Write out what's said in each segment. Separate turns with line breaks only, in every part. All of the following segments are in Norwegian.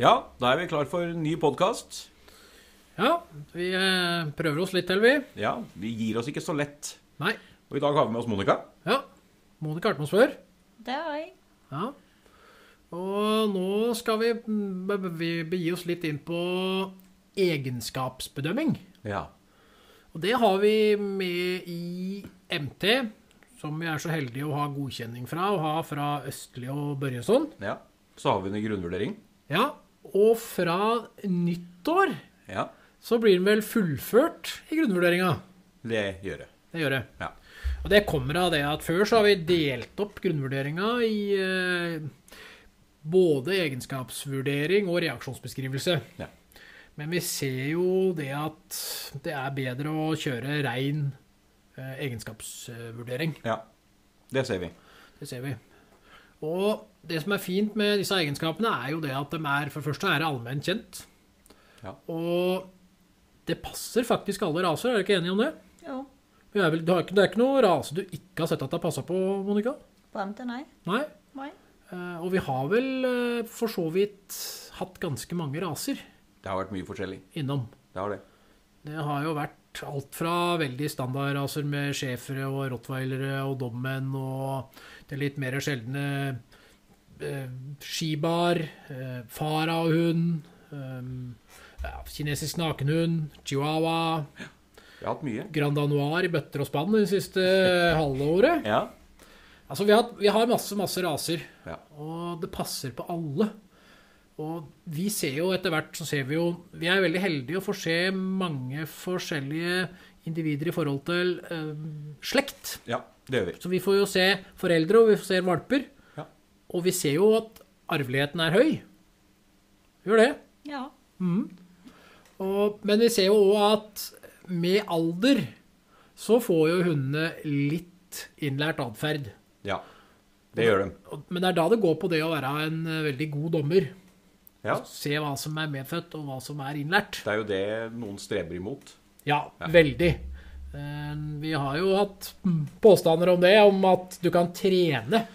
Ja, da er vi klar for en ny podkast.
Ja, vi eh, prøver oss litt til, vi.
Ja, vi gir oss ikke så lett.
Nei.
Og i dag har vi med oss Monica.
Ja. Monica har vært med oss før.
Det har jeg.
Ja. Og nå skal vi, mm, be- be- vi begi oss litt inn på egenskapsbedømming.
Ja.
Og det har vi med i MT, som vi er så heldige å ha godkjenning fra, og ha fra Østli og Børjesson.
ja. Så har vi en grunnvurdering.
Ja, og fra nyttår
Ja,
så blir den vel fullført i grunnvurderinga.
det gjør jeg.
Det gjør det.
Ja.
Og det kommer av det at før så har vi delt opp grunnvurderinga i eh, både egenskapsvurdering og reaksjonsbeskrivelse.
Ja.
Men vi ser jo det at det er bedre å kjøre rein eh, egenskapsvurdering.
ja. Det ser vi.
Det ser vi. Og det som er fint med disse egenskapene, er jo det at de er for det første er det allment kjent.
Ja.
Og det passer faktisk alle raser, er du ikke enig om det?
Jo,
Vi er vel, det, er ikke, det er ikke noe rase du ikke har sett at det har passa på, Monica?
frem til nei.
Nei?
Nei.
Eh, Og vi har vel eh, for så vidt hatt ganske mange raser
Det har vært mye forskjellig.
innom.
Det har det.
Det har jo vært alt fra veldig standardraser med schæfere og rottweilere og dommen og det litt mer sjeldne eh, shibar, eh, farahund, eh, ja, kinesisk nakenhund, chihuahua,
Vi har hatt mye.
grand anoir i bøtter og spann det siste halve året.
Ja.
Altså, vi har, vi har masse, masse raser,
Ja.
og det passer på alle. Og vi ser jo etter hvert, så ser vi jo Vi er veldig heldige å få se mange forskjellige individer i forhold til eh, slekt.
ja det gjør vi.
Så vi får jo se foreldre, og vi ser valper.
Ja.
Og vi ser jo at arveligheten er høy. Gjør det.
Ja.
Og, men vi ser jo òg at med alder så får jo hundene litt innlært atferd.
Ja. Det gjør de.
Og- Men det er da det går på det å være en eh, veldig god dommer.
Ja.
Se hva som er medfødt, og hva som er innlært.
Det er jo det noen streber imot.
Ja, veldig. Eh, Vi har jo hatt mm, påstander om det, om at du kan trene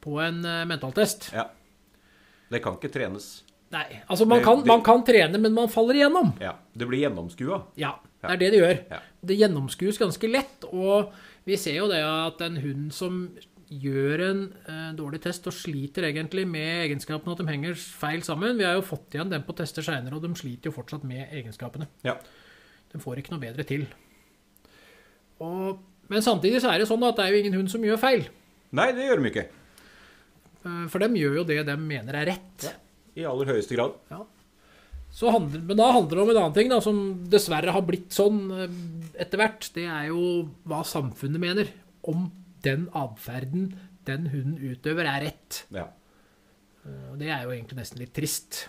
på en eh, mentaltest.
Ja. Det kan ikke trenes.
Nei, altså man
Det-
kan,
det-
man kan trene, men man faller igjennom.
Ja. Det blir gjennomskua.
Ja, det er det det gjør.
Ja.
Det gjennomskues ganske lett, og vi ser jo det at en hund som gjør en eh, dårlig test og sliter egentlig med egenskapene, at de henger feil sammen Vi har jo fått igjen dem på tester seinere, og de sliter jo fortsatt med egenskapene.
Ja.
De får ikke noe bedre til. Og, men samtidig så er det sånn at det er jo ingen hund som gjør feil.
Nei, det gjør de ikke.
Eh, For dem gjør jo det de mener er rett.
I aller høyeste grad.
Ja. Så handler, men da handler det om en annen ting da, som dessverre har blitt sånn eh, etter hvert. Det er jo hva samfunnet mener om den atferden den hunden utøver, er rett.
Ja.
Og det er jo egentlig nesten litt trist.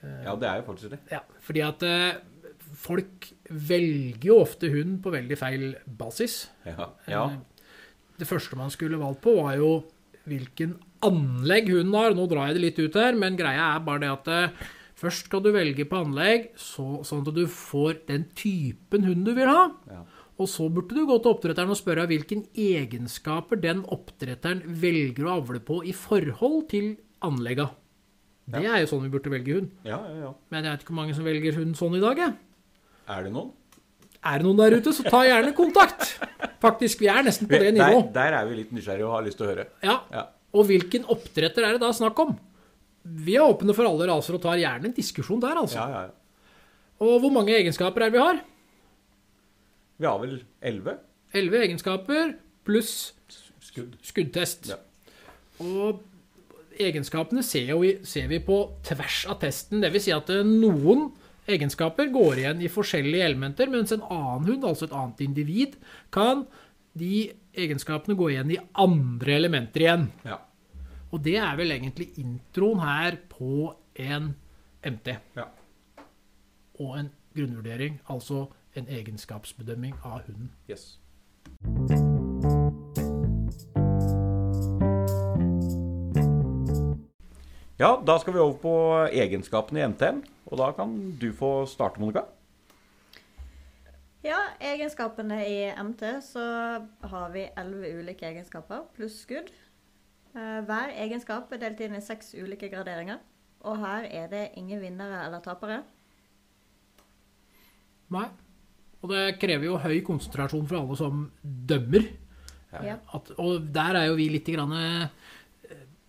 ja, det er jo faktisk det.
Ja, fordi at eh, folk velger jo ofte hund på veldig feil basis.
Ja. ja.
Eh, Det første man skulle valgt på, var jo hvilken anlegg hunden har. Nå drar jeg det litt ut her, men greia er bare det at eh, først skal du velge på anlegg, så, sånn at du får den typen hund du vil ha.
Ja.
Og så burde du gå til oppdretteren og spørre hvilke egenskaper den oppdretteren velger å avle på i forhold til anlegga. Det er jo sånn vi burde velge hund.
Ja, ja, ja.
Men jeg vet ikke hvor mange som velger hund sånn i dag. Jeg.
Er det noen?
Er det noen der ute, så ta gjerne kontakt! Faktisk, vi er nesten på det
der,
nivået.
der er vi litt nysgjerrige og har lyst til å høre.
Ja,
Ja.
Og hvilken oppdretter er det da snakk om? Vi er åpne for alle raser og tar gjerne en diskusjon der, altså.
Ja, ja, ja.
Og hvor mange egenskaper er det vi har?
Vi har vel elleve
Elleve egenskaper pluss
skudd.
skuddtest.
Ja.
Og egenskapene ser, jo, vi- ser vi på tvers av testen. Dvs. Si at eh, noen egenskaper går igjen i forskjellige elementer, mens en annen hund, altså et annet individ, kan de egenskapene gå igjen i andre elementer igjen.
Ja.
Og det er vel egentlig introen her på en MT
ja.
og en grunnvurdering, altså en egenskapsbedømming av hunden.
Yes. Ja, da skal vi over på egenskapene i NTM. Og da kan du få starte, Monica.
Ja, egenskapene i MT, så har vi elleve ulike egenskaper pluss skudd. Eh, Hver egenskap er delt inn i seks ulike graderinger, Og her er det ingen vinnere eller tapere.
Nei. Og det krever jo høy konsentrasjon fra alle som dømmer.
Ja.
At, og der er jo vi litt grann, eh,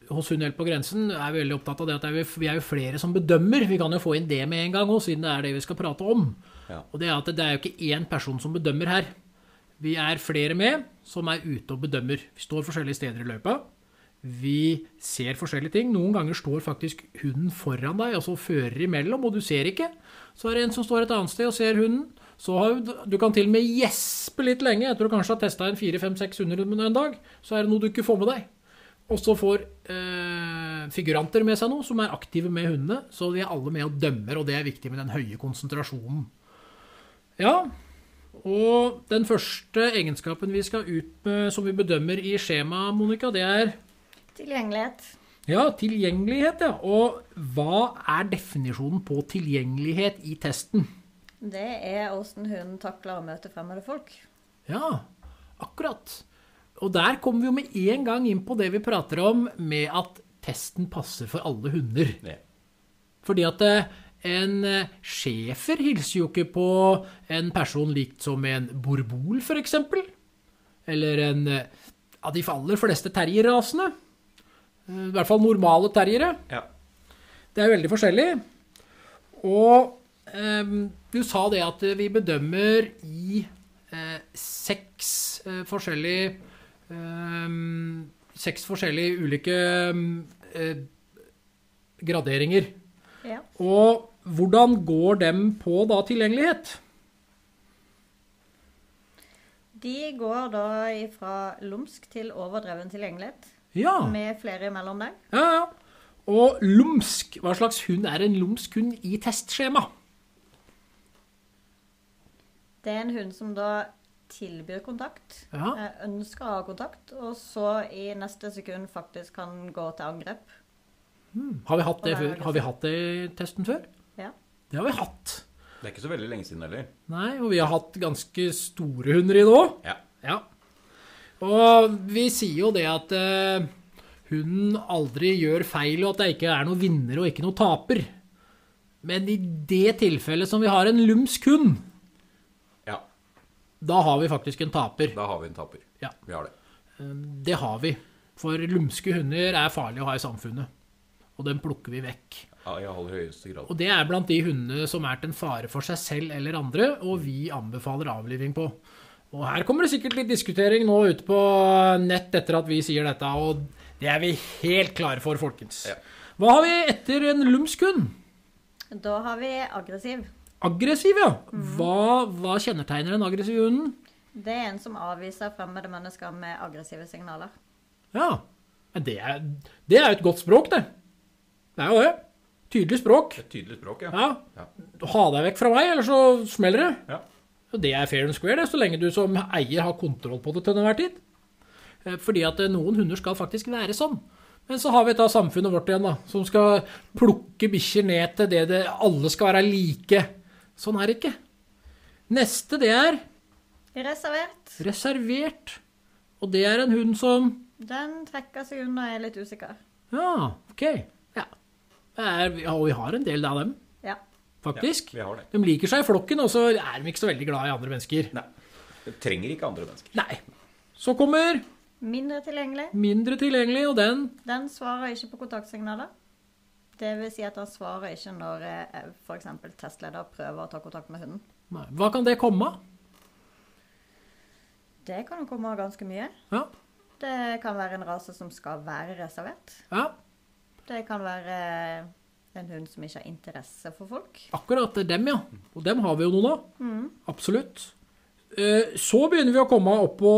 Hos Hun helt på grensen er vi veldig opptatt av det at det er jo- vi er jo flere som bedømmer. Vi kan jo få inn det med en gang òg, siden det er det vi skal prate om.
Ja.
Og det er at det er jo ikke én person som bedømmer her. Vi er flere med som er ute og bedømmer. Vi står forskjellige steder i løypa. Vi ser forskjellige ting. Noen ganger står faktisk hunden foran deg, altså fører imellom, og du ser ikke. Så er det en som står et annet sted og ser hunden. Så har du, du kan til og med gjespe litt lenge etter å kanskje ha testa en fire-fem-seks hunder en dag. Så er det noe du ikke får med deg. Og så får eh, figuranter med seg noe, som er aktive med hundene. Så de er alle med og dømmer, og det er viktig med den høye konsentrasjonen. Ja, og den første egenskapen vi skal ut med, som vi bedømmer i skjemaet, Monica, det er
Tilgjengelighet.
ja, tilgjengelighet. Ja. Og hva er definisjonen på tilgjengelighet i testen?
Det er åssen hunden takler å møte fremmede folk.
Ja, akkurat. Og der kommer vi jo med en gang inn på det vi prater om med at testen passer for alle hunder.
Ja.
Fordi at eh, en eh, schæfer hilser jo ikke på en person likt som en borbol, f.eks. Eller en eh, av de aller fleste terrierrasene. Eh, I hvert fall normale terriere.
Ja.
Det er veldig forskjellig. Og ehm, du sa det at vi bedømmer i eh, seks eh, forskjellige ehm, Seks forskjellige ulike ehm, eh, graderinger.
Ja.
Og hvordan går dem på da tilgjengelighet?
De går da fra lumsk til overdreven tilgjengelighet,
Ja.
med flere imellom deg.
ja, ja. Og lumsk. Hva slags hund er en lumsk hund i testskjema?
Det er en hund som da tilbyr kontakt,
Ja.
eh, ønsker å ha kontakt, og så i neste sekund faktisk kan gå til angrep.
Har vi hatt det,
Hva er
før?
det?
Har vi hatt det i testen før?
Ja.
Det har vi hatt.
Det er ikke så veldig lenge siden heller.
Nei, og vi har hatt ganske store hunder i det òg.
Ja.
Ja. Og vi sier jo det at eh, hunden aldri gjør feil, og at det ikke er noen vinner og ikke noen taper. Men i det tilfellet som vi har en lumsk hund,
ja.
da har vi faktisk en taper.
Da har vi en taper.
Ja.
Vi har det.
Eh, Det har vi. For lumske hunder er farlige å ha i samfunnet. Og den plukker vi vekk.
Ja, I aller høyeste grad.
Og det er blant de hundene som er til en fare for seg selv eller andre, og vi anbefaler avliving på. Og her kommer det sikkert litt diskutering nå ute på nett etter at vi sier dette, og det er vi helt klare for, folkens.
Ja.
Hva har vi etter en lumsk hund?
Da har vi aggressiv.
Aggressiv, ja. Hva, hva kjennetegner den aggressive hunden?
Det er en som avviser fremmede mennesker med aggressive signaler.
Ja, men det er, det er jo et godt språk, det. Det er jo det. Tydelig språk.
Et tydelig språk, ja.
Ja.
Ja.
Ha deg vekk fra meg, eller så smeller det.
Ja.
Og det er fair and square, det, så lenge du som eier har kontroll på det til enhver tid. Eh, Fordi at eh, noen hunder skal faktisk være sånn. Men så har vi da samfunnet vårt igjen, da, som skal plukke bikkjer ned til det, det alle skal være like. Sånn er det ikke. Neste, det er
Reservert.
reservert. Og det er en hund som
Den trekker seg unna og er litt usikker.
Ja, OK. Ja. Det Er, ja, og vi har en del av dem,
Ja.
faktisk.
Ja, vi har det.
De liker seg i flokken, og så er de ikke så veldig glad i andre mennesker.
Nei. Det trenger ikke andre mennesker.
Nei. Så kommer
Mindre tilgjengelig.
mindre tilgjengelig, og den
Den svarer ikke på kontaktsignaler. Det vil si at den svarer ikke når f.eks. testleder prøver å ta kontakt med hunden.
Nei. Hva kan det komme av?
Det kan jo komme av ganske mye.
Ja.
Det kan være en rase som skal være reservert.
ja,
Det kan være eh, en hund som ikke har interesse for folk.
akkurat det er dem, ja. Og dem har vi jo noen av. Absolutt. Eh, Så begynner vi å komme opp på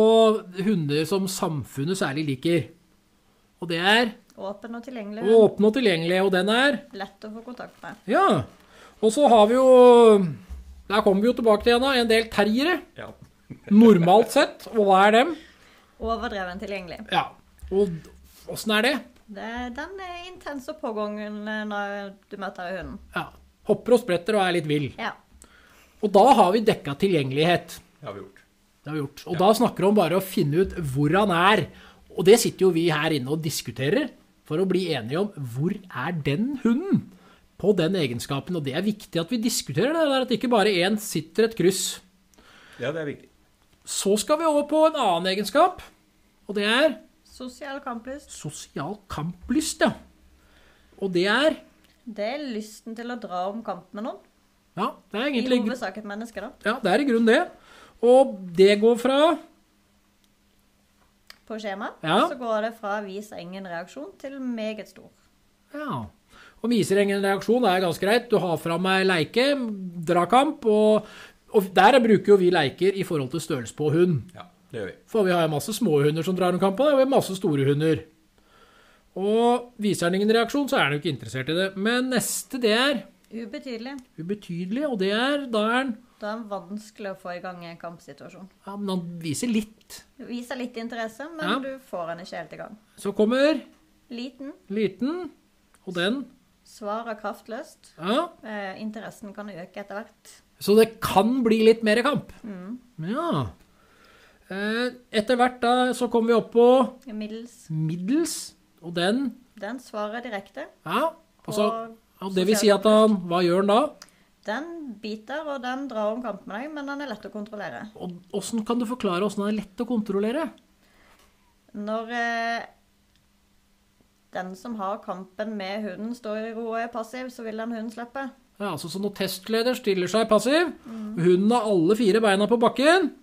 hunder som samfunnet særlig liker. Og det er
Åpen og tilgjengelig hund.
åpne og tilgjengelige, og den er
Lett å få kontakt med.
Ja. Og så har vi jo Der kommer vi jo tilbake til igjen, da. En del terriere.
Ja.
Normalt sett. Og hva er dem?
Overdreven tilgjengelig.
Ja. Og åssen er det?
Det, den er intens og pågående når du møter hunden.
Ja. Hopper og spretter og er litt vill.
Ja.
Og da har vi dekka tilgjengelighet.
Det har vi gjort.
Det har vi gjort. Og da snakker det om bare å finne ut hvor han er. Og det sitter jo vi her inne og diskuterer for å bli enige om hvor er den hunden? på den egenskapen. Og det er viktig at vi diskuterer det der, at ikke bare én sitter et kryss.
Ja, det er viktig.
Så skal vi over på en annen egenskap, og det er
Sosial kamplyst.
sosial kamplyst, ja. Og det er
Det er lysten til å dra om kamp med noen.
Ja, det er
I
egentlig
hovedsak et menneske, da.
Ja, det er i grunnen det. Og det går fra
På skjemaet
Ja.
så går det fra 'vis ingen reaksjon' til 'meget stor'.
Ja. Og viser ingen reaksjon, det er ganske greit. Du har fra meg leike, dra kamp, og, og der bruker jo vi leiker i forhold til størrelse på hund.
Ja, det gjør vi.
For vi har jo masse små hunder som drar om kampen, og vi har masse store hunder. Og viser han ingen reaksjon, så er han jo ikke interessert i det. Men neste, det er
Ubetydelig.
ubetydelig, og det er da er han
Da er det vanskelig å få i gang en kampsituasjon.
Ja, men han viser litt.
Du viser litt interesse, men
Ja.
du får den ikke helt i gang.
Så kommer
Liten.
liten, og den
Svarer kraftløst.
Ja.
Eh, interessen kan øke etter hvert. Mm.
Så det kan bli litt mer kamp. Ja. Eh, Etter hvert da så kommer vi opp på
Middels.
middels, og den
Den svarer direkte.
Ja.
På,
Altså, og det vil si at han Hva gjør han da?
den biter, og den drar om kamp med deg, men den er lett å kontrollere.
Og Åssen kan du forklare åssen han er lett å kontrollere?
Når eh, den som har kampen med hunden, står i ro og er passiv, så vil den hunden slippe.
Ja, altså Så når testleder stiller seg passiv, hunden har alle fire beina på bakken,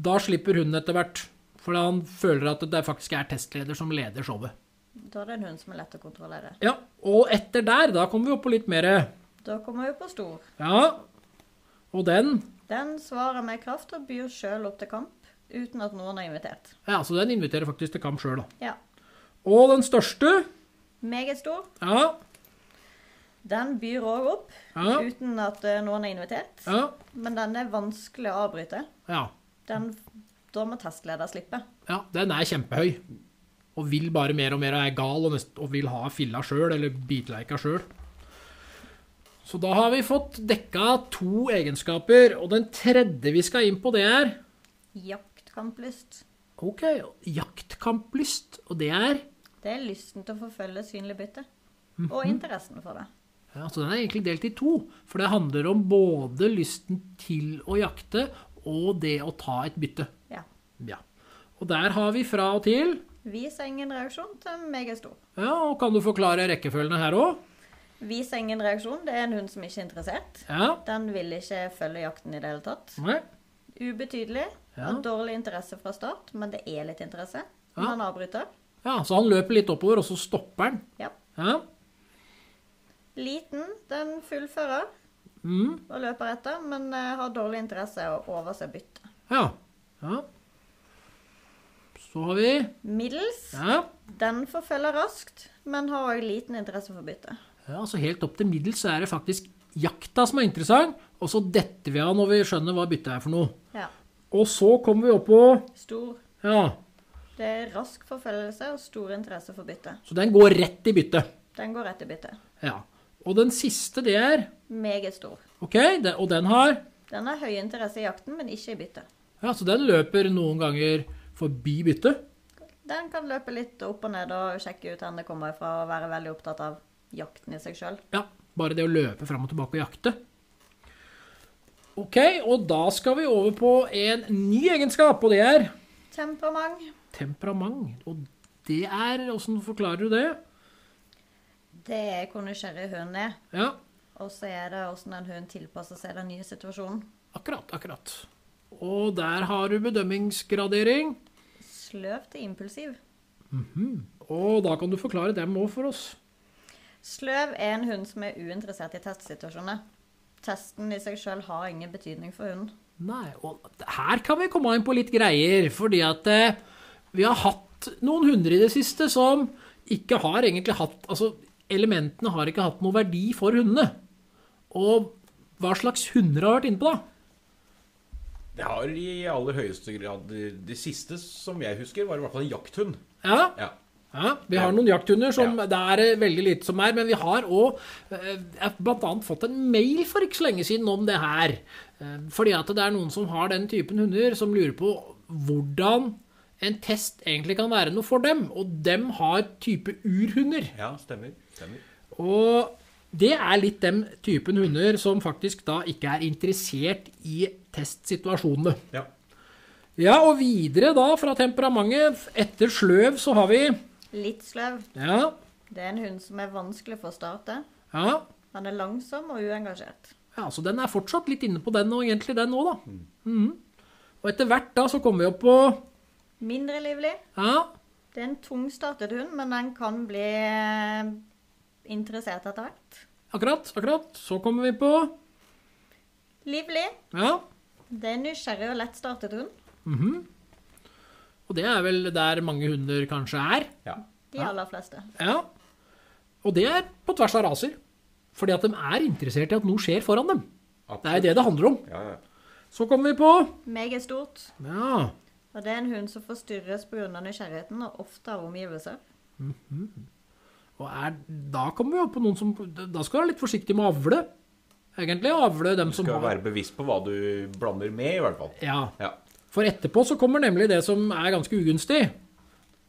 da slipper hunden etter hvert. Fordi han føler at det faktisk er testleder som leder showet.
Da er det en hund som er lett å kontrollere.
Ja, Og etter der, da kommer vi opp på litt mer
Da kommer vi på stor.
Ja. Og den
Den svarer med kraft og byr sjøl opp til kamp uten at noen er invitert.
Ja, så den inviterer faktisk til kamp sjøl, da.
Ja.
Og den største
Meget stor.
Ja,
Den byr òg opp
ja,
uten at eh, noen er invitert.
ja.
Men den er vanskelig å avbryte.
ja,
Den, da må testleder slippe.
ja den er kjempehøy. Og vil bare mer og mer og er gal og, nest, og vil ha filla sjøl, eller bitleika sjøl. Så da har vi fått dekka to egenskaper, og den tredje vi skal inn på, det er
Jaktkamplyst.
OK, jaktkamplyst. Og det er
Det er lysten til å forfølge synlig bytte. Og
Mhm.
interessen for det.
Ja, så den er egentlig delt i to. For det handler om både lysten til å jakte og det å ta et bytte.
Ja.
Ja. Og der har vi fra og til.
Vis ingen reaksjon til meget stor.
Ja, og Kan du forklare rekkefølgene her òg?
Vis ingen reaksjon, det er en hund som ikke er interessert.
Ja.
Den vil ikke følge jakten i det hele tatt.
Nei.
Ubetydelig.
Ja.
Har dårlig interesse fra start, men det er litt interesse.
Ja.
Han avbryter.
ja, Så han løper litt oppover, og så stopper han.
Ja.
Ja.
Liten, den fullfører
Mm.
og løper etter, men eh, har dårlig interesse og overser byttet.
ja. Ja. Så har vi
Middels,
Ja,
den forfølger raskt, men har òg liten interesse for byttet.
ja så helt opp til middels så er det faktisk jakta som er interessant. Og så detter vi av når vi skjønner hva byttet er for noe.
Ja.
Og så kommer vi opp på
Stor.
Ja.
Det er rask forfølgelse og stor interesse for byttet.
Så den går rett i byttet.
Den går rett i byttet.
Ja. Og den siste, det er
Meget stor.
OK, det, og den har
Den har høy interesse i jakten, men ikke i byttet.
Ja, så den løper noen ganger forbi byttet.
Den kan løpe litt opp og ned og sjekke ut hvor det kommer fra og være veldig opptatt av jakten i seg sjøl.
Ja, bare det å løpe fram og tilbake og jakte. OK, og da skal vi over på en ny egenskap, og det er
Temperament.
temperament. Og det er Åssen forklarer du det?
Det er hvor nysgjerrig hunden er.
Ja,
Og så er det hvordan en hund tilpasser seg den nye situasjonen.
akkurat, akkurat. Og der har du bedømmingsgradering.
Sløv til impulsiv.
Og da kan du forklare dem òg for oss.
Sløv er en hund som er uinteressert i testsituasjoner. Testen i seg sjøl har ingen betydning for hunden.
Nei, og her kan vi komme inn på litt greier, fordi at eh, vi har hatt noen hunder i det siste som ikke har egentlig hatt Altså, elementene har ikke hatt noe verdi for hundene. Og hva slags hunder har vært inne på, da?
Det har i aller høyeste grad Det siste som jeg husker, var i hvert fall en jakthund.
Ja,
Ja.
ja vi har noen jakthunder som
Ja.
det er eh, veldig lite som er, men vi har eh, òg bl.a. fått en mail for ikke så lenge siden om det her. Eh, Fordi at det er noen som har den typen hunder, som lurer på hvordan en test egentlig kan være noe for dem. Og dem har type urhunder.
Ja, stemmer. stemmer.
Og Det er litt den typen hunder som faktisk da ikke er interessert i testsituasjonene.
Ja.
Ja, og videre da fra temperamentet. Etter sløv så har vi
Litt sløv.
Ja,
Det er en hund som er vanskelig for å starte.
ja.
Han er langsom og uengasjert.
ja så den er fortsatt litt inne på den og egentlig den òg, da.
Mm.
Mhm. Og etter hvert da så kommer vi opp på
Mindre livlig.
Ja,
Det er en tungstartet hund, men den kan bli eh, interessert etter hvert.
akkurat, akkurat. Så kommer vi på
Livlig.
Ja.
Det er en nysgjerrig og lettstartet hund.
Og det er vel der mange hunder kanskje er.
ja.
De aller fleste.
Ja. Og det er på tvers av raser. Fordi at de er interessert i at noe skjer foran dem. Det er jo det det handler om.
Ja, ja.
Så kommer vi på
Meget stort.
Ja.
Og det er en hund som forstyrres pga. nysgjerrigheten, og ofte av omgivelser.
Og er, da kommer vi opp på noen som Da skal du være litt forsiktig med å avle. Egentlig avle dem
Du
som
skal
har
være bevisst på hva du blander med, i hvert fall.
Ja.
Ja.
For etterpå så kommer nemlig det som er ganske ugunstig.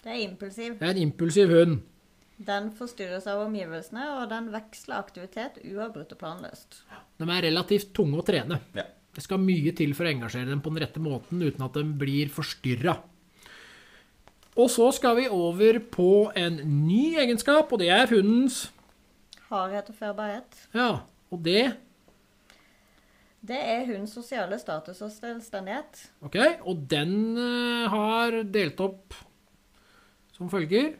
Det er impulsiv.
Det er en impulsiv hund.
Den forstyrres av omgivelsene, og den veksler aktivitet uavbrutt og planløst.
De er relativt tunge å trene.
ja.
Det skal mye til for å engasjere dem på den rette måten uten at de blir forstyrra. Og så skal vi over på en ny egenskap, og det er hundens
Hardhet og førbarhet.
Ja, og det
Det er hundens sosiale status og selvstendighet.
Ok, og den eh, har delt opp som følger.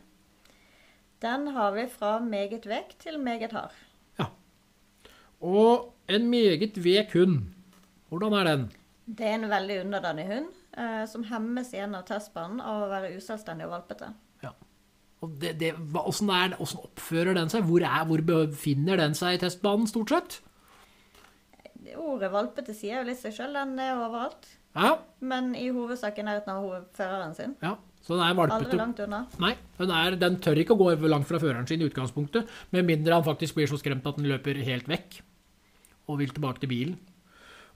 Den har vi fra meget vekk til meget hard.
Og en meget vek hund. Hvordan er den?
Det er en veldig underdanig hund, eh, som hemmes igjen av testbanen av å være uselvstendig og valpete.
Og det, det, hva, hvordan, er, den- hvordan oppfører den seg? Hvor, er, hvor befinner den seg i testbanen, stort sett?
Det Ordet valpete sier jo litt seg sjøl, den er overalt.
Ja,
Men i hovedsak i nærheten av hoved- føreren sin.
ja. Så den er
Aldri
valpete.
langt unna.
Nei, den, er, den tør ikke å gå over langt fra føreren sin i utgangspunktet, med mindre han faktisk blir så skremt at den løper helt vekk og vil tilbake til bilen.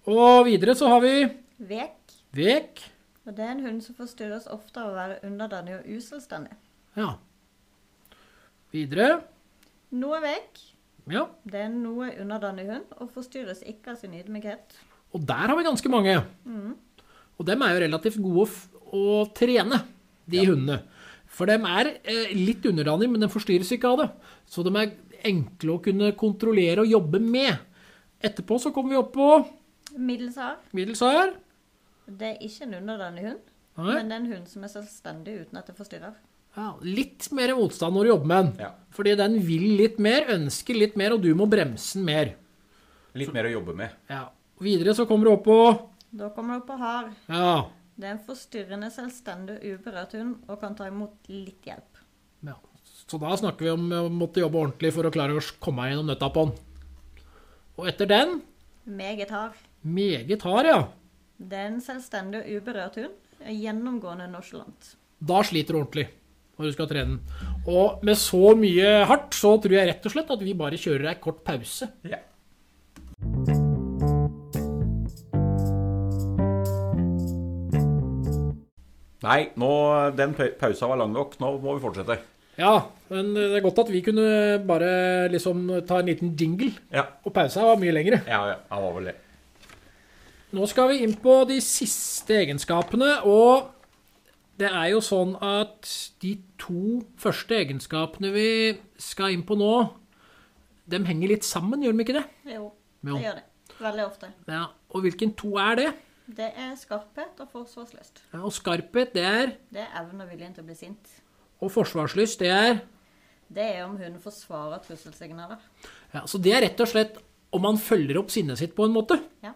Og videre så har vi
Vek.
vek.
Og det er en hund som forstyrres ofte av å være underdanig og uselvstendig.
Ja. Videre.
Noe vekk.
Ja.
Det er en noe underdanig hund, og forstyrres ikke av sin ydmykhet.
Og der har vi ganske mange. Og dem er jo relativt gode å, f å trene, de hundene. For dem er eh, litt underdanig, men de forstyrres ikke av det. Så de er enkle å kunne kontrollere og jobbe med. Etterpå så kommer vi opp på
Middels hard.
middels her.
Det er ikke en underdanig hund,
Nei.
men det er en hund som er selvstendig uten at det forstyrrer.
Ja, litt mer motstand når du jobber med den.
Ja.
Fordi den vil litt mer, ønsker litt mer, og du må bremse den mer.
Litt mer å jobbe med.
Ja. Videre så kommer du opp på
Da kommer du på hard.
ja,
Det er en forstyrrende, selvstendig og uberørt hund og kan ta imot litt hjelp.
Ja. Så da snakker vi om å måtte jobbe ordentlig for å klare å komme gjennom nøtta på den. Og etter den
Meget hard.
meget hard, ja.
Det er en selvstendig og uberørt hund. Gjennomgående nonchalant.
Da sliter du ordentlig når du skal trene den. Og med så mye hardt, så tror jeg rett og slett at vi bare kjører ei kort pause.
Ja. Nei, nå, den pa- pausa var lang nok. Nå må vi fortsette.
Ja, men det er godt at vi kunne bare liksom ta en liten jingle.
Ja,
Og pausa var mye lengre.
ja, ja han var vel det.
Nå skal vi inn på de siste egenskapene, og det er jo sånn at de to første egenskapene vi skal inn på nå, de henger litt sammen, gjør de ikke det?
Jo,
Jo.
det gjør det. Veldig ofte.
Ja, og hvilken to er det?
Det er skarphet og forsvarslyst.
Ja, og skarphet, det er,
Det er evnen og viljen til å bli sint.
og forsvarslyst, det er.
Det er om hunden forsvarer trusselsignaler.
Ja, så det er rett og slett om man følger opp sinnet sitt på en måte.
Ja.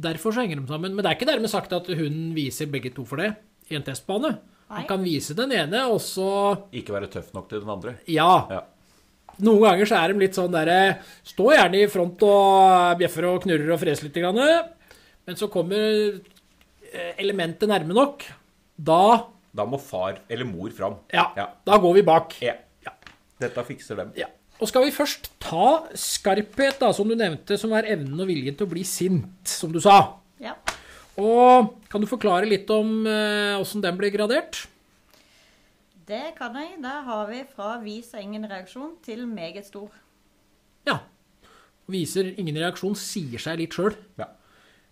Derfor så henger de sammen. Men det er ikke dermed sagt at hun viser begge to for det i en testbane. Man
Nei.
kan vise den ene, og så,
Ikke være tøff nok til den andre.
ja,
Ja.
Noen ganger så er de litt sånn derre Stå gjerne i front og bjeffer og knurrer og freser litt. Grann, men så kommer eh, elementet nærme nok. Da
Da må far eller mor fram.
ja,
Ja.
da går vi bak.
Ja. Dette fikser dem.
Ja. Og skal vi først ta skarphet, da, som du nevnte, som er evnen og viljen til å bli sint, som du sa.
ja.
Og kan du forklare litt om eh, åssen den blir gradert?
Det kan jeg. Der har vi fra 'viser ingen reaksjon' til 'meget stor'.
Ja. Viser ingen reaksjon, sier seg litt sjøl.
Ja.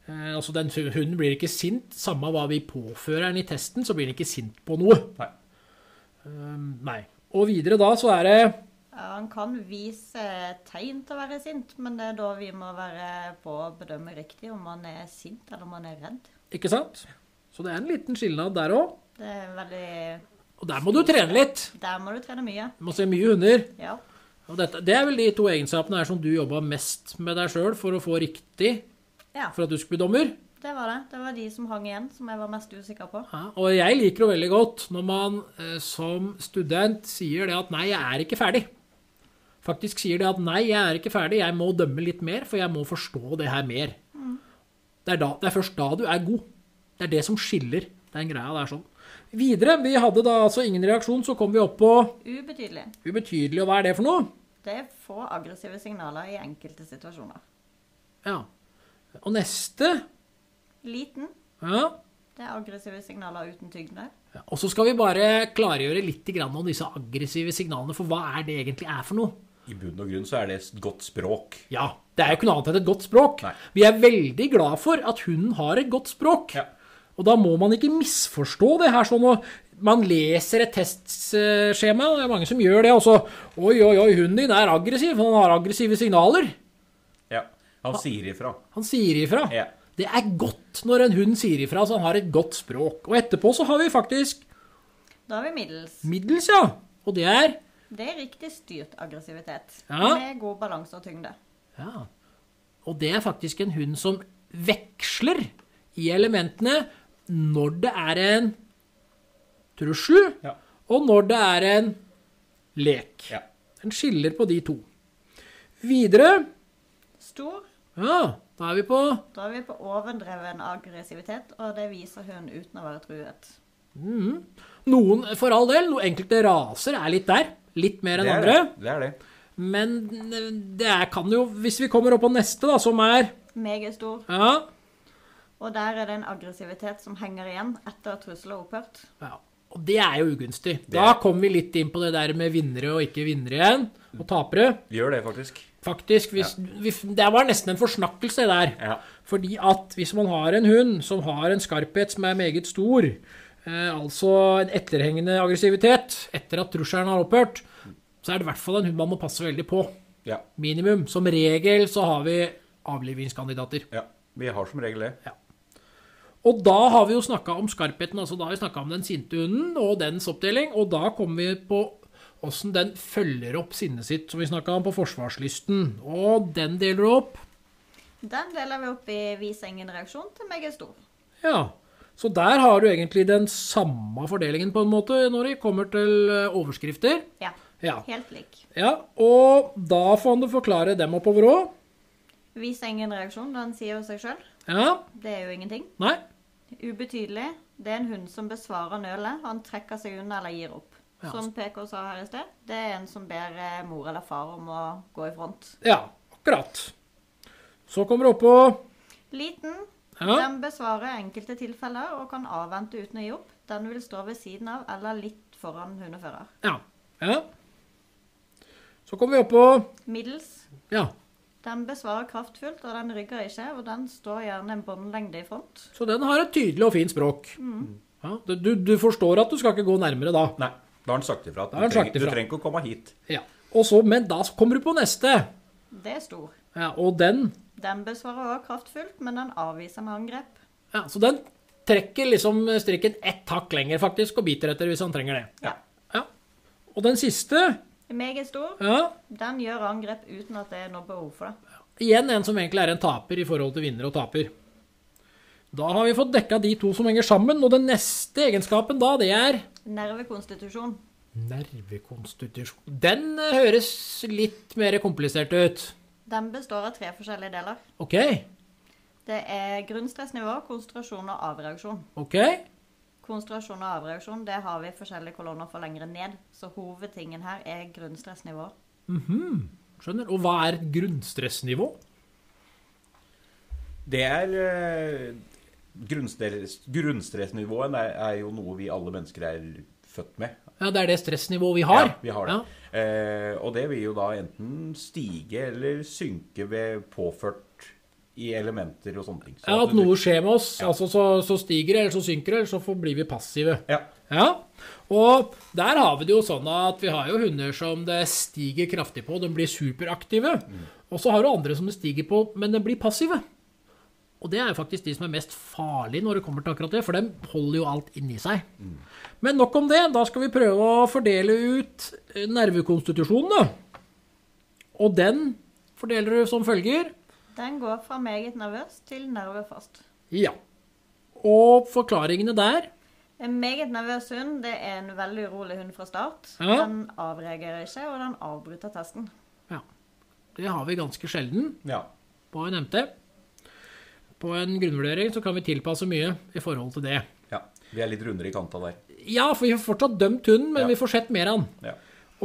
Eh, altså den hu- hunden blir ikke sint. Samme hva vi påfører den i testen, så blir den ikke sint på noe.
Nei.
Mm, Nei. Og videre da så er det
Ja, han kan vise tegn til å være sint, men det er da vi må være på å bedømme riktig om han er sint eller om han er redd.
Ikke sant? Så det er en liten skilnad der òg.
Det er veldig
Og der må du trene litt.
Der må du trene mye.
Du må se mye hunder.
Ja.
Og dette, det er vel de to egenskapene her som du jobba mest med deg sjøl for å få riktig
ja.
for at du skulle bli dommer.
Det var det. Det var de som hang igjen, som jeg var mest usikker på.
Ja, og jeg liker jo veldig godt når man eh, som student sier det at nei, jeg er ikke ferdig. Faktisk sier det at nei, jeg er ikke ferdig, jeg må dømme litt mer, for jeg må forstå det her mer. Det, er da, det er først da du er god. Det er det som skiller den greia der sånn. Videre, vi hadde da altså ingen reaksjon, så kom vi opp på
Ubetydelig.
ubetydelig, og hva er det for noe?
Det er få aggressive signaler i enkelte situasjoner.
Ja. Og neste,
Liten.
ja.
Det er aggressive signaler uten tyngde.
Ja, Og så skal vi bare klargjøre litt grann om disse aggressive signalene, for hva er det egentlig er for noe?
I bunn og grunn så er det et godt språk.
Ja, det er jo ikke noe annet enn et godt språk.
Nei.
Vi er veldig glad for at hunden har et godt språk.
Ja.
Og da må man ikke misforstå det her sånn og man leser et testskjema, og det er mange som gjør det, og så Oi, oi, oi, hunden din er aggressiv, for han har aggressive signaler.
Ja. Han sier ifra.
Han sier ifra.
Ja.
Det er godt når en hund sier ifra, så han har et godt språk. Og etterpå så har vi faktisk
Da har vi middels.
middels, ja. Og det er
Det er riktig styrt aggressivitet.
Ja.
Med god balanse og tyngde.
Ja. Og det er faktisk en hund som veksler i elementene når det er en trussel,
Ja.
og når det er en lek.
Ja.
Den skiller på de to. Videre
Stor.
Ja, da er vi på
Da er vi på overdreven aggressivitet, og det viser hun uten å være truet.
noen, for all del, noen enkelte raser er litt der. Litt mer enn
Det er
andre.
det. det er det.
Men eh, det er, kan jo Hvis vi kommer opp på neste, da, som er
Megastor.
Ja,
Og der er det en aggressivitet som henger igjen etter at trusselen har opphørt.
Ja, og det er jo ugunstig. Da kommer vi litt inn på det der med vinnere og ikke vinnere igjen, og tapere.
Vi gjør det, faktisk.
Faktisk, hvis, hvis, Det var nesten en forsnakkelse der.
Ja.
Fordi at hvis man har en hund som har en skarphet som er meget stor, eh, altså en etterhengende aggressivitet etter at trusselen har opphørt, så er det i hvert fall en hund man må passe veldig på.
Ja.
Minimum. Som regel så har vi avlivingskandidater.
ja. Vi har som regel det.
Og da har vi jo snakka om skarpheten, altså da har vi snakka om den sinte hunden og dens oppdeling, og da kommer vi på åssen den følger opp sinnet sitt, som vi snakka om på forsvarslysten. Og den deler du opp.
Den deler vi opp i vis ingen reaksjon til megastor.
Ja. Så der har du egentlig den samme fordelingen, på en måte, når det kommer til eh, overskrifter.
Ja.
Ja.
Helt lik.
ja. Og da får du forklare dem oppover òg.
Vis ingen reaksjon, den sier jo seg sjøl.
Ja.
Det er jo ingenting.
Nei.
Ubetydelig. Det er en hund som besvarer nølet. Han trekker seg unna eller gir opp.
Ja.
Som PK sa her i sted, det er en som ber eh, mor eller far om å gå i front.
Ja. Akkurat. Så kommer du opp på
Liten.
ja.
Den besvarer enkelte tilfeller og kan avvente uten å gi opp. Den vil stå ved siden av eller litt foran hundefører.
ja. Ja. Så kommer vi opp på
Middels.
Ja,
Den besvarer kraftfullt, og den rygger ikke, og den står gjerne en båndlengde i front.
så den har et tydelig og fint språk. Ja, du- du, du forstår at du skal ikke gå nærmere da.
Nei. Da har han sagt ifra. at
Da har han
Du
sagt
trenger, du
ifra.
trenger ikke å komme hit.
Ja. Og så, men da kommer du på neste.
Det er stor.
Ja, og den
Den besvarer også kraftfullt, men den avviser med angrep.
ja, Så den trekker liksom strikken ett hakk lenger faktisk, og biter etter hvis han trenger det.
Ja.
Ja. Og den siste
Meget stor.
ja,
Den gjør angrep uten at det er noe behov for det.
Igjen en som egentlig er en taper i forhold til vinner og taper. Da har vi fått dekka de to som henger sammen, og den neste egenskapen da, det er
Nervekonstitusjon.
Nervekonstitusjon. Den eh, høres litt mer komplisert ut.
Den består av tre forskjellige deler.
OK.
Det er grunnstressnivå, konsentrasjon og avreaksjon.
Ok,
Konsentrasjon og avreaksjon det har vi i forskjellige kolonner for lengre ned, så hovedtingen her er grunnstressnivå.
skjønner. Og hva er et grunnstressnivå?
Det er eh, grunnstress, Grunnstressnivået er, er jo noe vi alle mennesker er født med.
Ja, det er det stressnivået vi har.
Ja, vi har det.
Ja.
Eh, og det vil jo da enten stige eller synke ved påført i elementer og sånne ting. Så
Ja,
at du-
at noe skjer med oss. Altså, så, så stiger det, eller så synker det, eller så får- blir vi passive.
Ja.
Ja, og der har vi det jo sånn at vi har jo hunder som det stiger kraftig på, de blir superaktive. Og så har du andre som det stiger på, men de blir passive. Og det er jo faktisk de som er mest farlige når det kommer til akkurat det, for de holder jo alt inni seg. Men nok om det, da skal vi prøve å fordele ut eh, nervekonstitusjonene. Og den fordeler du som følger.
Den går fra meget nervøs til nervefast.
Ja. Og forklaringene der
En meget nervøs hund det er en veldig urolig hund fra start.
Ja.
Den avreagerer ikke, og den avbryter testen.
Ja. Det har vi ganske sjelden.
ja.
på en MT. På en grunnvurdering så kan vi tilpasse mye i forhold til det.
ja. Vi er litt rundere i kanta der.
Ja, for vi har fortsatt dømt hunden, men
Ja.
vi får sett mer av den.
Ja.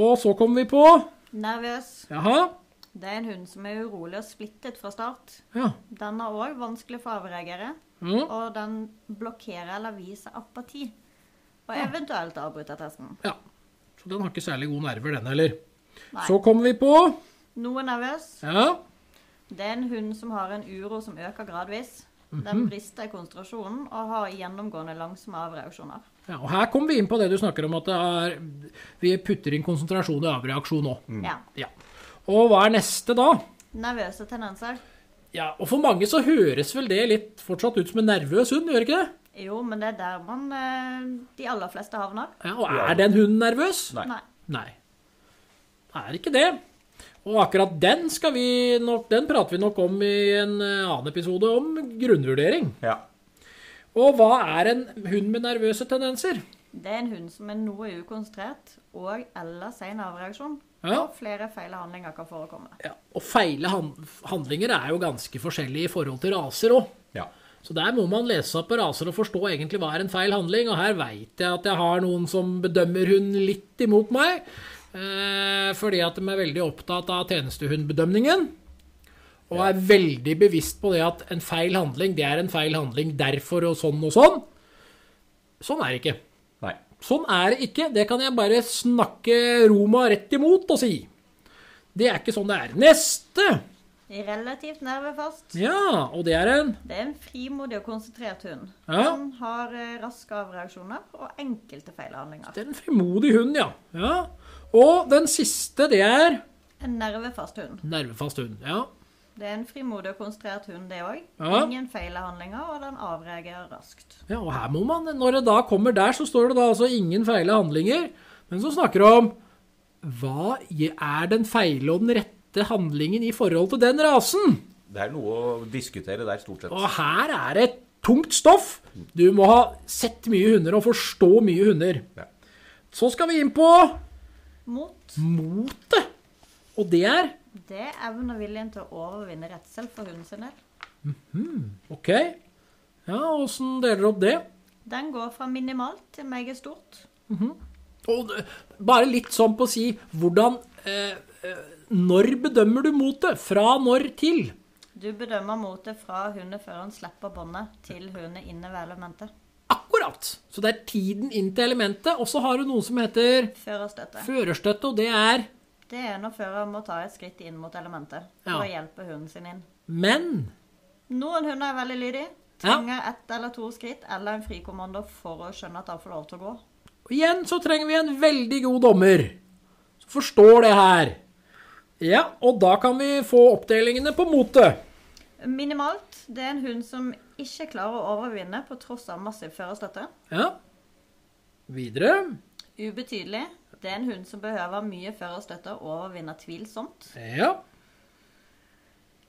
Og så kommer vi på
Nervøs.
Jaha.
Det er en hund som er urolig og splittet fra start.
Ja.
Den har òg vanskelig for avreagere,
Mm.
og den blokkerer eller viser apati. Og eventuelt avbryter testen.
ja. Så den har ikke særlig gode nerver, den heller.
Nei.
Så kommer vi på
Noe nervøs.
Ja.
Det er en hund som har en uro som øker gradvis. Den brister i konsentrasjonen og har gjennomgående langsomme avreaksjoner.
ja. Og her kommer vi inn på det du snakker om, at det er Vi putter inn konsentrasjon og avreaksjon nå.
Ja.
Ja. Og hva er neste da?
Nervøse tendenser.
Ja, og for mange så høres vel det litt fortsatt ut som en nervøs hund, gjør ikke det?
Jo, men det er der man eh, de aller fleste havner.
Ja, og er den hunden nervøs?
Nei.
Nei.
Nei. Det er ikke det. Og akkurat den skal vi nok, den prater vi nok om i en eh, annen episode om grunnvurdering.
Ja.
Og hva er en hund med nervøse tendenser?
Det er en hund som er noe ukonsentrert og eller sen avreaksjon.
Ja.
Og flere feil handlinger kan forekomme.
Ja, og feile han- handlinger er jo ganske forskjellige i forhold til raser òg.
ja.
Så der må man lese seg opp på raser og forstå egentlig hva er en feil handling. Og her veit jeg at jeg har noen som bedømmer hun litt imot meg. Eh, fordi at de er veldig opptatt av tjenestehundbedømningen. Og er veldig bevisst på det at en feil handling, det er en feil handling derfor og sånn og sånn. Sånn er det ikke.
Nei.
Sånn er det ikke. Det kan jeg bare snakke Roma rett imot og si. Det er ikke sånn det er. Neste!
Relativt nervefast.
Ja, og det er en
Det er en frimodig og konsentrert hund.
Ja.
Den har eh, raske avreaksjoner og enkelte feil handlinger.
Det er en frimodig hund, ja. ja. Og den siste, det er
En nervefast hund.
nervefast hund. Ja.
Det er en frimodig og konsentrert hund, det òg.
Ja.
Ingen feil handlinger, og den avreagerer raskt.
ja, og her må man Når det da kommer der, så står det da altså ingen feile handlinger, men så snakker det om hva er den feile og den rette handlingen i forhold til den rasen?
Det er noe å diskutere der, stort sett.
Og her er det tungt stoff. Du må ha sett mye hunder og forstå mye hunder.
Ja.
Så skal vi inn på
Mot
motet. Og det er
det er evnen og viljen til å overvinne redsel for hunden sin del.
OK. Ja, åssen deler du opp det?
Den går fra minimalt til meget stort.
Og det- bare litt sånn på å si hvordan eh, eh, Når bedømmer du motet? Fra når til?
Du bedømmer motet fra hundeføreren slipper båndet, til hunden er inne ved elementet.
Akkurat! Så det er tiden inn til elementet. Og så har du noe som heter
Førerstøtte.
førerstøtte, og det er
Det er når fører må ta et skritt inn mot elementet for
Ja.
å hjelpe hunden sin inn.
men.
Noen hunder er veldig lydige.
Ja.
Trenger ett eller to skritt eller en frikommando for å skjønne at han får lov til å gå.
Og igjen så trenger vi en veldig god dommer som forstår det her. Ja, og da kan vi få oppdelingene på motet.
Minimalt. Det er en hund som ikke klarer å overvinne på tross av massiv førerstøtte.
Ja. Videre.
Ubetydelig. Det er en hund som behøver mye førerstøtte og overvinner tvilsomt.
Ja.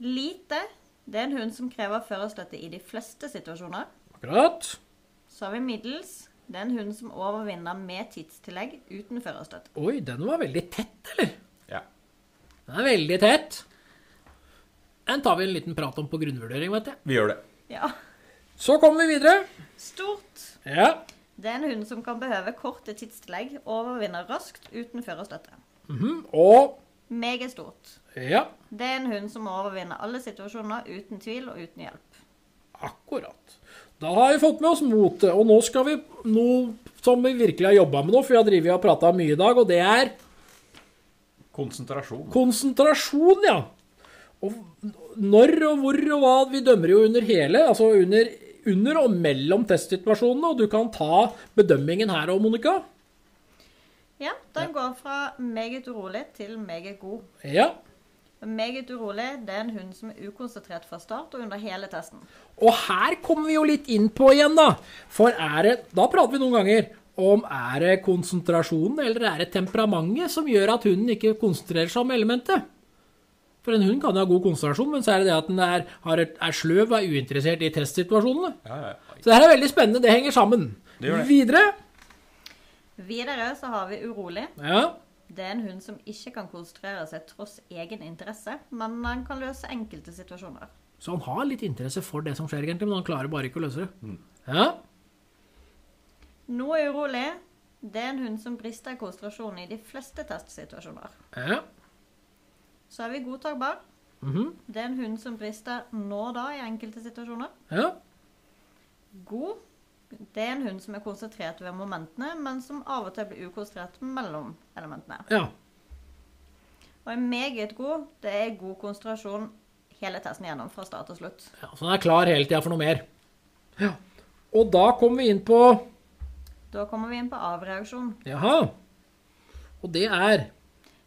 Lite. Det er en hund som krever førerstøtte i de fleste situasjoner.
Akkurat.
Så har vi middels. Det er en hund som overvinner med tidstillegg uten førerstøtte.
Oi, den var veldig tett, eller?
Ja.
Den er veldig tett. Den tar vi en liten prat om på grunnvurdering, vet jeg.
Vi gjør det.
Ja.
Så kommer vi videre.
Stort.
Ja.
Det er en hund som kan behøve korte tidstillegg, overvinner raskt uten førerstøtte.
Mhm, Og
Meget stort.
Ja,
Det er en hund som overvinner alle situasjoner uten tvil og uten hjelp.
akkurat. Da har vi fått med oss motet, og nå skal vi noe som vi virkelig har jobba med nå, for vi har drevet og prata mye i dag, og det er
Konsentrasjon.
konsentrasjon, ja. Og når og hvor og hva Vi dømmer jo under hele, altså under, under og mellom testsituasjonene, og du kan ta bedømmingen her òg, Monica.
Ja, den går fra meget urolig til meget god.
Ja.
Meget urolig det er en hund som er ukonsentrert fra start og under hele testen.
Og her kommer vi jo litt inn på igjen, da. For er det Da prater vi noen ganger om er det konsentrasjonen eller er det temperamentet som gjør at hunden ikke konsentrerer seg om elementet. For en hund kan jo ha god konsentrasjon, men så er det det at den er, har et, er sløv og er uinteressert i testsituasjonene.
Ja, ja, ja.
Så det her er veldig spennende. Det henger sammen.
Det gjør det.
Videre
Videre så har vi urolig.
ja,
Det er en hund som ikke kan konsentrere seg tross egen interesse, men han kan løse enkelte situasjoner.
Så han har litt interesse for det som skjer, egentlig, men han klarer bare ikke å løse
Mm.
det. Ja,
Noe urolig det er en hund som brister i konsentrasjon i de fleste testsituasjoner.
ja,
Så er vi godtakbar. Det er en hund som brister nå og da i enkelte situasjoner.
ja.
God det er en hund som er konsentrert ved momentene, men som av og til blir ukonsentrert mellom elementene.
ja.
Og en meget god, det er god konsentrasjon hele testen gjennom fra start til slutt.
Ja, Så Altså, han er klar hele tida for noe mer. Ja. Og da kommer vi inn på
Da kommer vi inn på avreaksjon.
Jaha. Og det er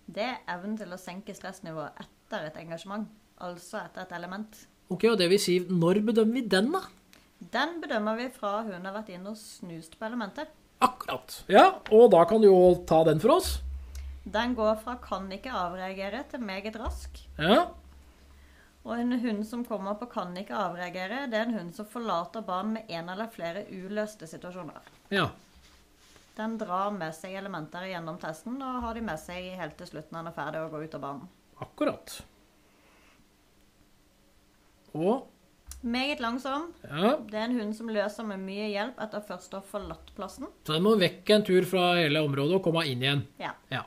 Det er evnen til å senke stressnivået etter et engasjement, altså etter et element.
Ok, og det vil si, når bedømmer vi den, da?
Den bedømmer vi fra hun har vært inne og snust på elementet.
Akkurat. Ja, og da kan du jo ta den for oss.
Den går fra kan ikke avreagere til meget rask.
Ja.
Og en hund som kommer på kan ikke avreagere, det er en hund som forlater barn med en eller flere uløste situasjoner.
Ja.
Den drar med seg elementer gjennom testen og har de med seg helt til slutt når den er ferdig og går ut av banen.
Akkurat. Og
Meget langsom.
Ja.
Det er en hund som løser med mye hjelp etter først å ha forlatt plassen.
Så den må vekk en tur fra hele området og komme inn igjen.
Ja.
Ja.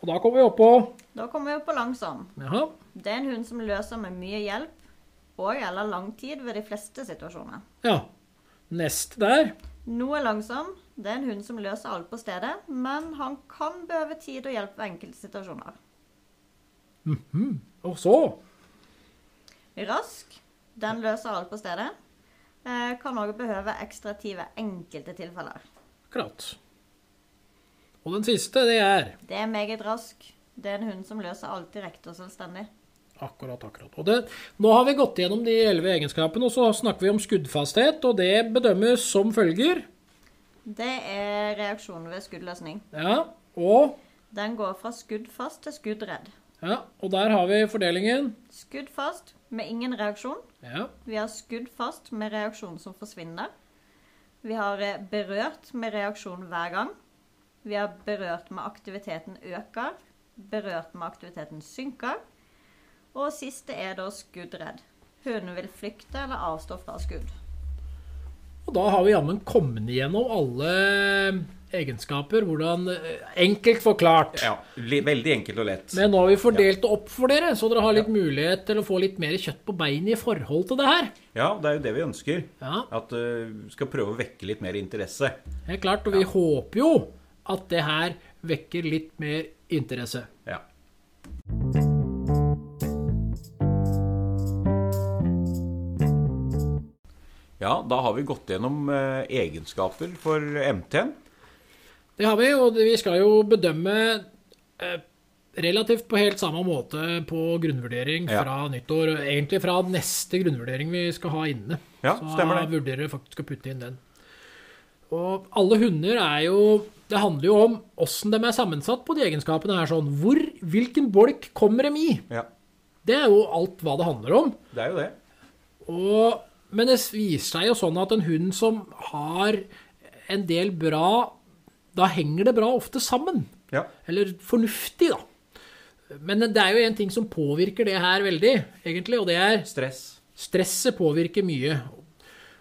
Og da kommer vi opp på
Da kommer vi på langsom.
Jaha.
Det er en hund som løser med mye hjelp og eller lang tid ved de fleste situasjoner.
Ja. Neste der.
Noe langsom. Det er en hund som løser alt på stedet, men han kan behøve tid og hjelp ved enkelte situasjoner.
Og så
Rask. Den løser alt på stedet. Eh, Kan òg behøve ekstra tid ved enkelte tilfeller.
Akkurat. Og den siste, det er
Det er meget rask. Det er en hund som løser alt direkte og selvstendig.
Akkurat, akkurat. Og det, nå har vi gått gjennom de elleve egenskapene, og så snakker vi om skuddfasthet, og det bedømmes som følger.
Det er reaksjonen ved skuddløsning.
Ja, og
Den går fra skudd fast til skuddredd.
Ja, og der har vi fordelingen.
Skudd fast med ingen reaksjon.
Ja.
Vi har skudd fast med reaksjon som forsvinner. Vi har eh, berørt med reaksjon hver gang. Vi har berørt med aktiviteten øker. Berørt med aktiviteten synker. Og siste er da skuddredd. Hunden vil flykte eller avstå fra skudd.
Og da har vi jammen kommet igjennom alle egenskaper, hvordan eh, Enkelt forklart.
Ja, li- veldig enkelt og lett.
Men nå har vi fordelt det opp for dere, så dere har litt mulighet til å få litt mer kjøtt på beinet i forhold til det her.
Ja, det er jo det vi ønsker.
Ja.
At eh, vi skal prøve å vekke litt mer interesse.
Helt klart, og vi håper jo at det her vekker litt mer interesse.
Ja. Ja, da har vi gått gjennom eh, egenskaper for MT-en.
Det har vi, og det- vi skal jo bedømme eh, relativt på helt samme måte på grunnvurdering
Ja.
fra nyttår. og Egentlig fra neste grunnvurdering vi skal ha inne.
Ja,
Så
stemmer det.
vurderer jeg faktisk å putte inn den. Og alle hunder er jo Det handler jo om åssen de er sammensatt på de egenskapene her. sånn. Hvor, Hvilken bolk kommer dem i?
Ja,
Det er jo alt hva det handler om.
det er jo det.
Og, men det viser seg jo sånn at en hund som har en del bra Da henger det bra ofte sammen.
Ja.
Eller fornuftig, da. Men det er jo en ting som påvirker det her veldig, egentlig, og det er
Stress.
stresset påvirker mye.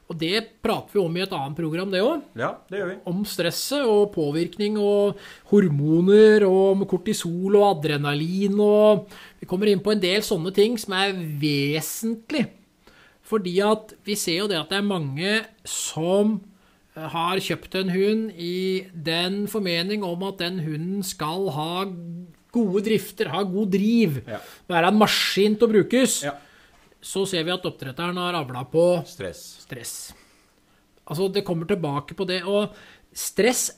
Og det prater vi om i et annet program, det òg.
Ja, det gjør vi.
Om stresset og påvirkning og hormoner og om kortisol og adrenalin og Vi kommer inn på en del sånne ting som er vesentlig Fordi at vi ser jo det at det er mange som eh, har kjøpt en hund i den formening om at den hunden skal ha gode drifter, ha god driv,
Ja.
være en maskin til å brukes.
Ja.
Så ser vi at oppdretteren har avla på
Stress.
stress. Altså, det kommer tilbake på det. Og stress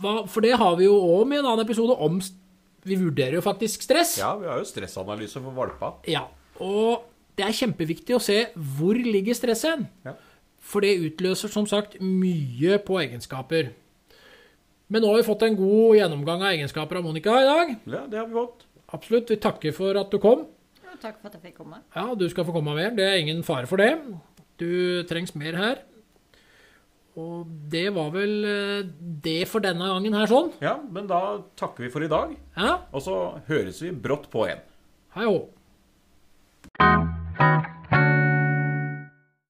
hva, For det har vi jo òg med en annen episode om st- Vi vurderer jo faktisk stress.
Ja, vi har jo stressanalyse for valpa.
Ja, og det er kjempeviktig å se hvor ligger stresset hen.
Ja.
For det utløser som sagt mye på egenskaper. Men nå har vi fått en god gjennomgang av egenskaper av Monica i dag.
Ja, det har vi fått.
Absolutt. Vi takker for at du kom.
Jo, takk for at jeg fikk komme.
Ja, du skal få komme mer. Det er ingen fare for det. Du trengs mer her. Og det var vel eh, det for denne gangen her sånn.
Ja, men da takker vi for i dag.
Ja,
Og så høres vi brått på igjen.
hei hå.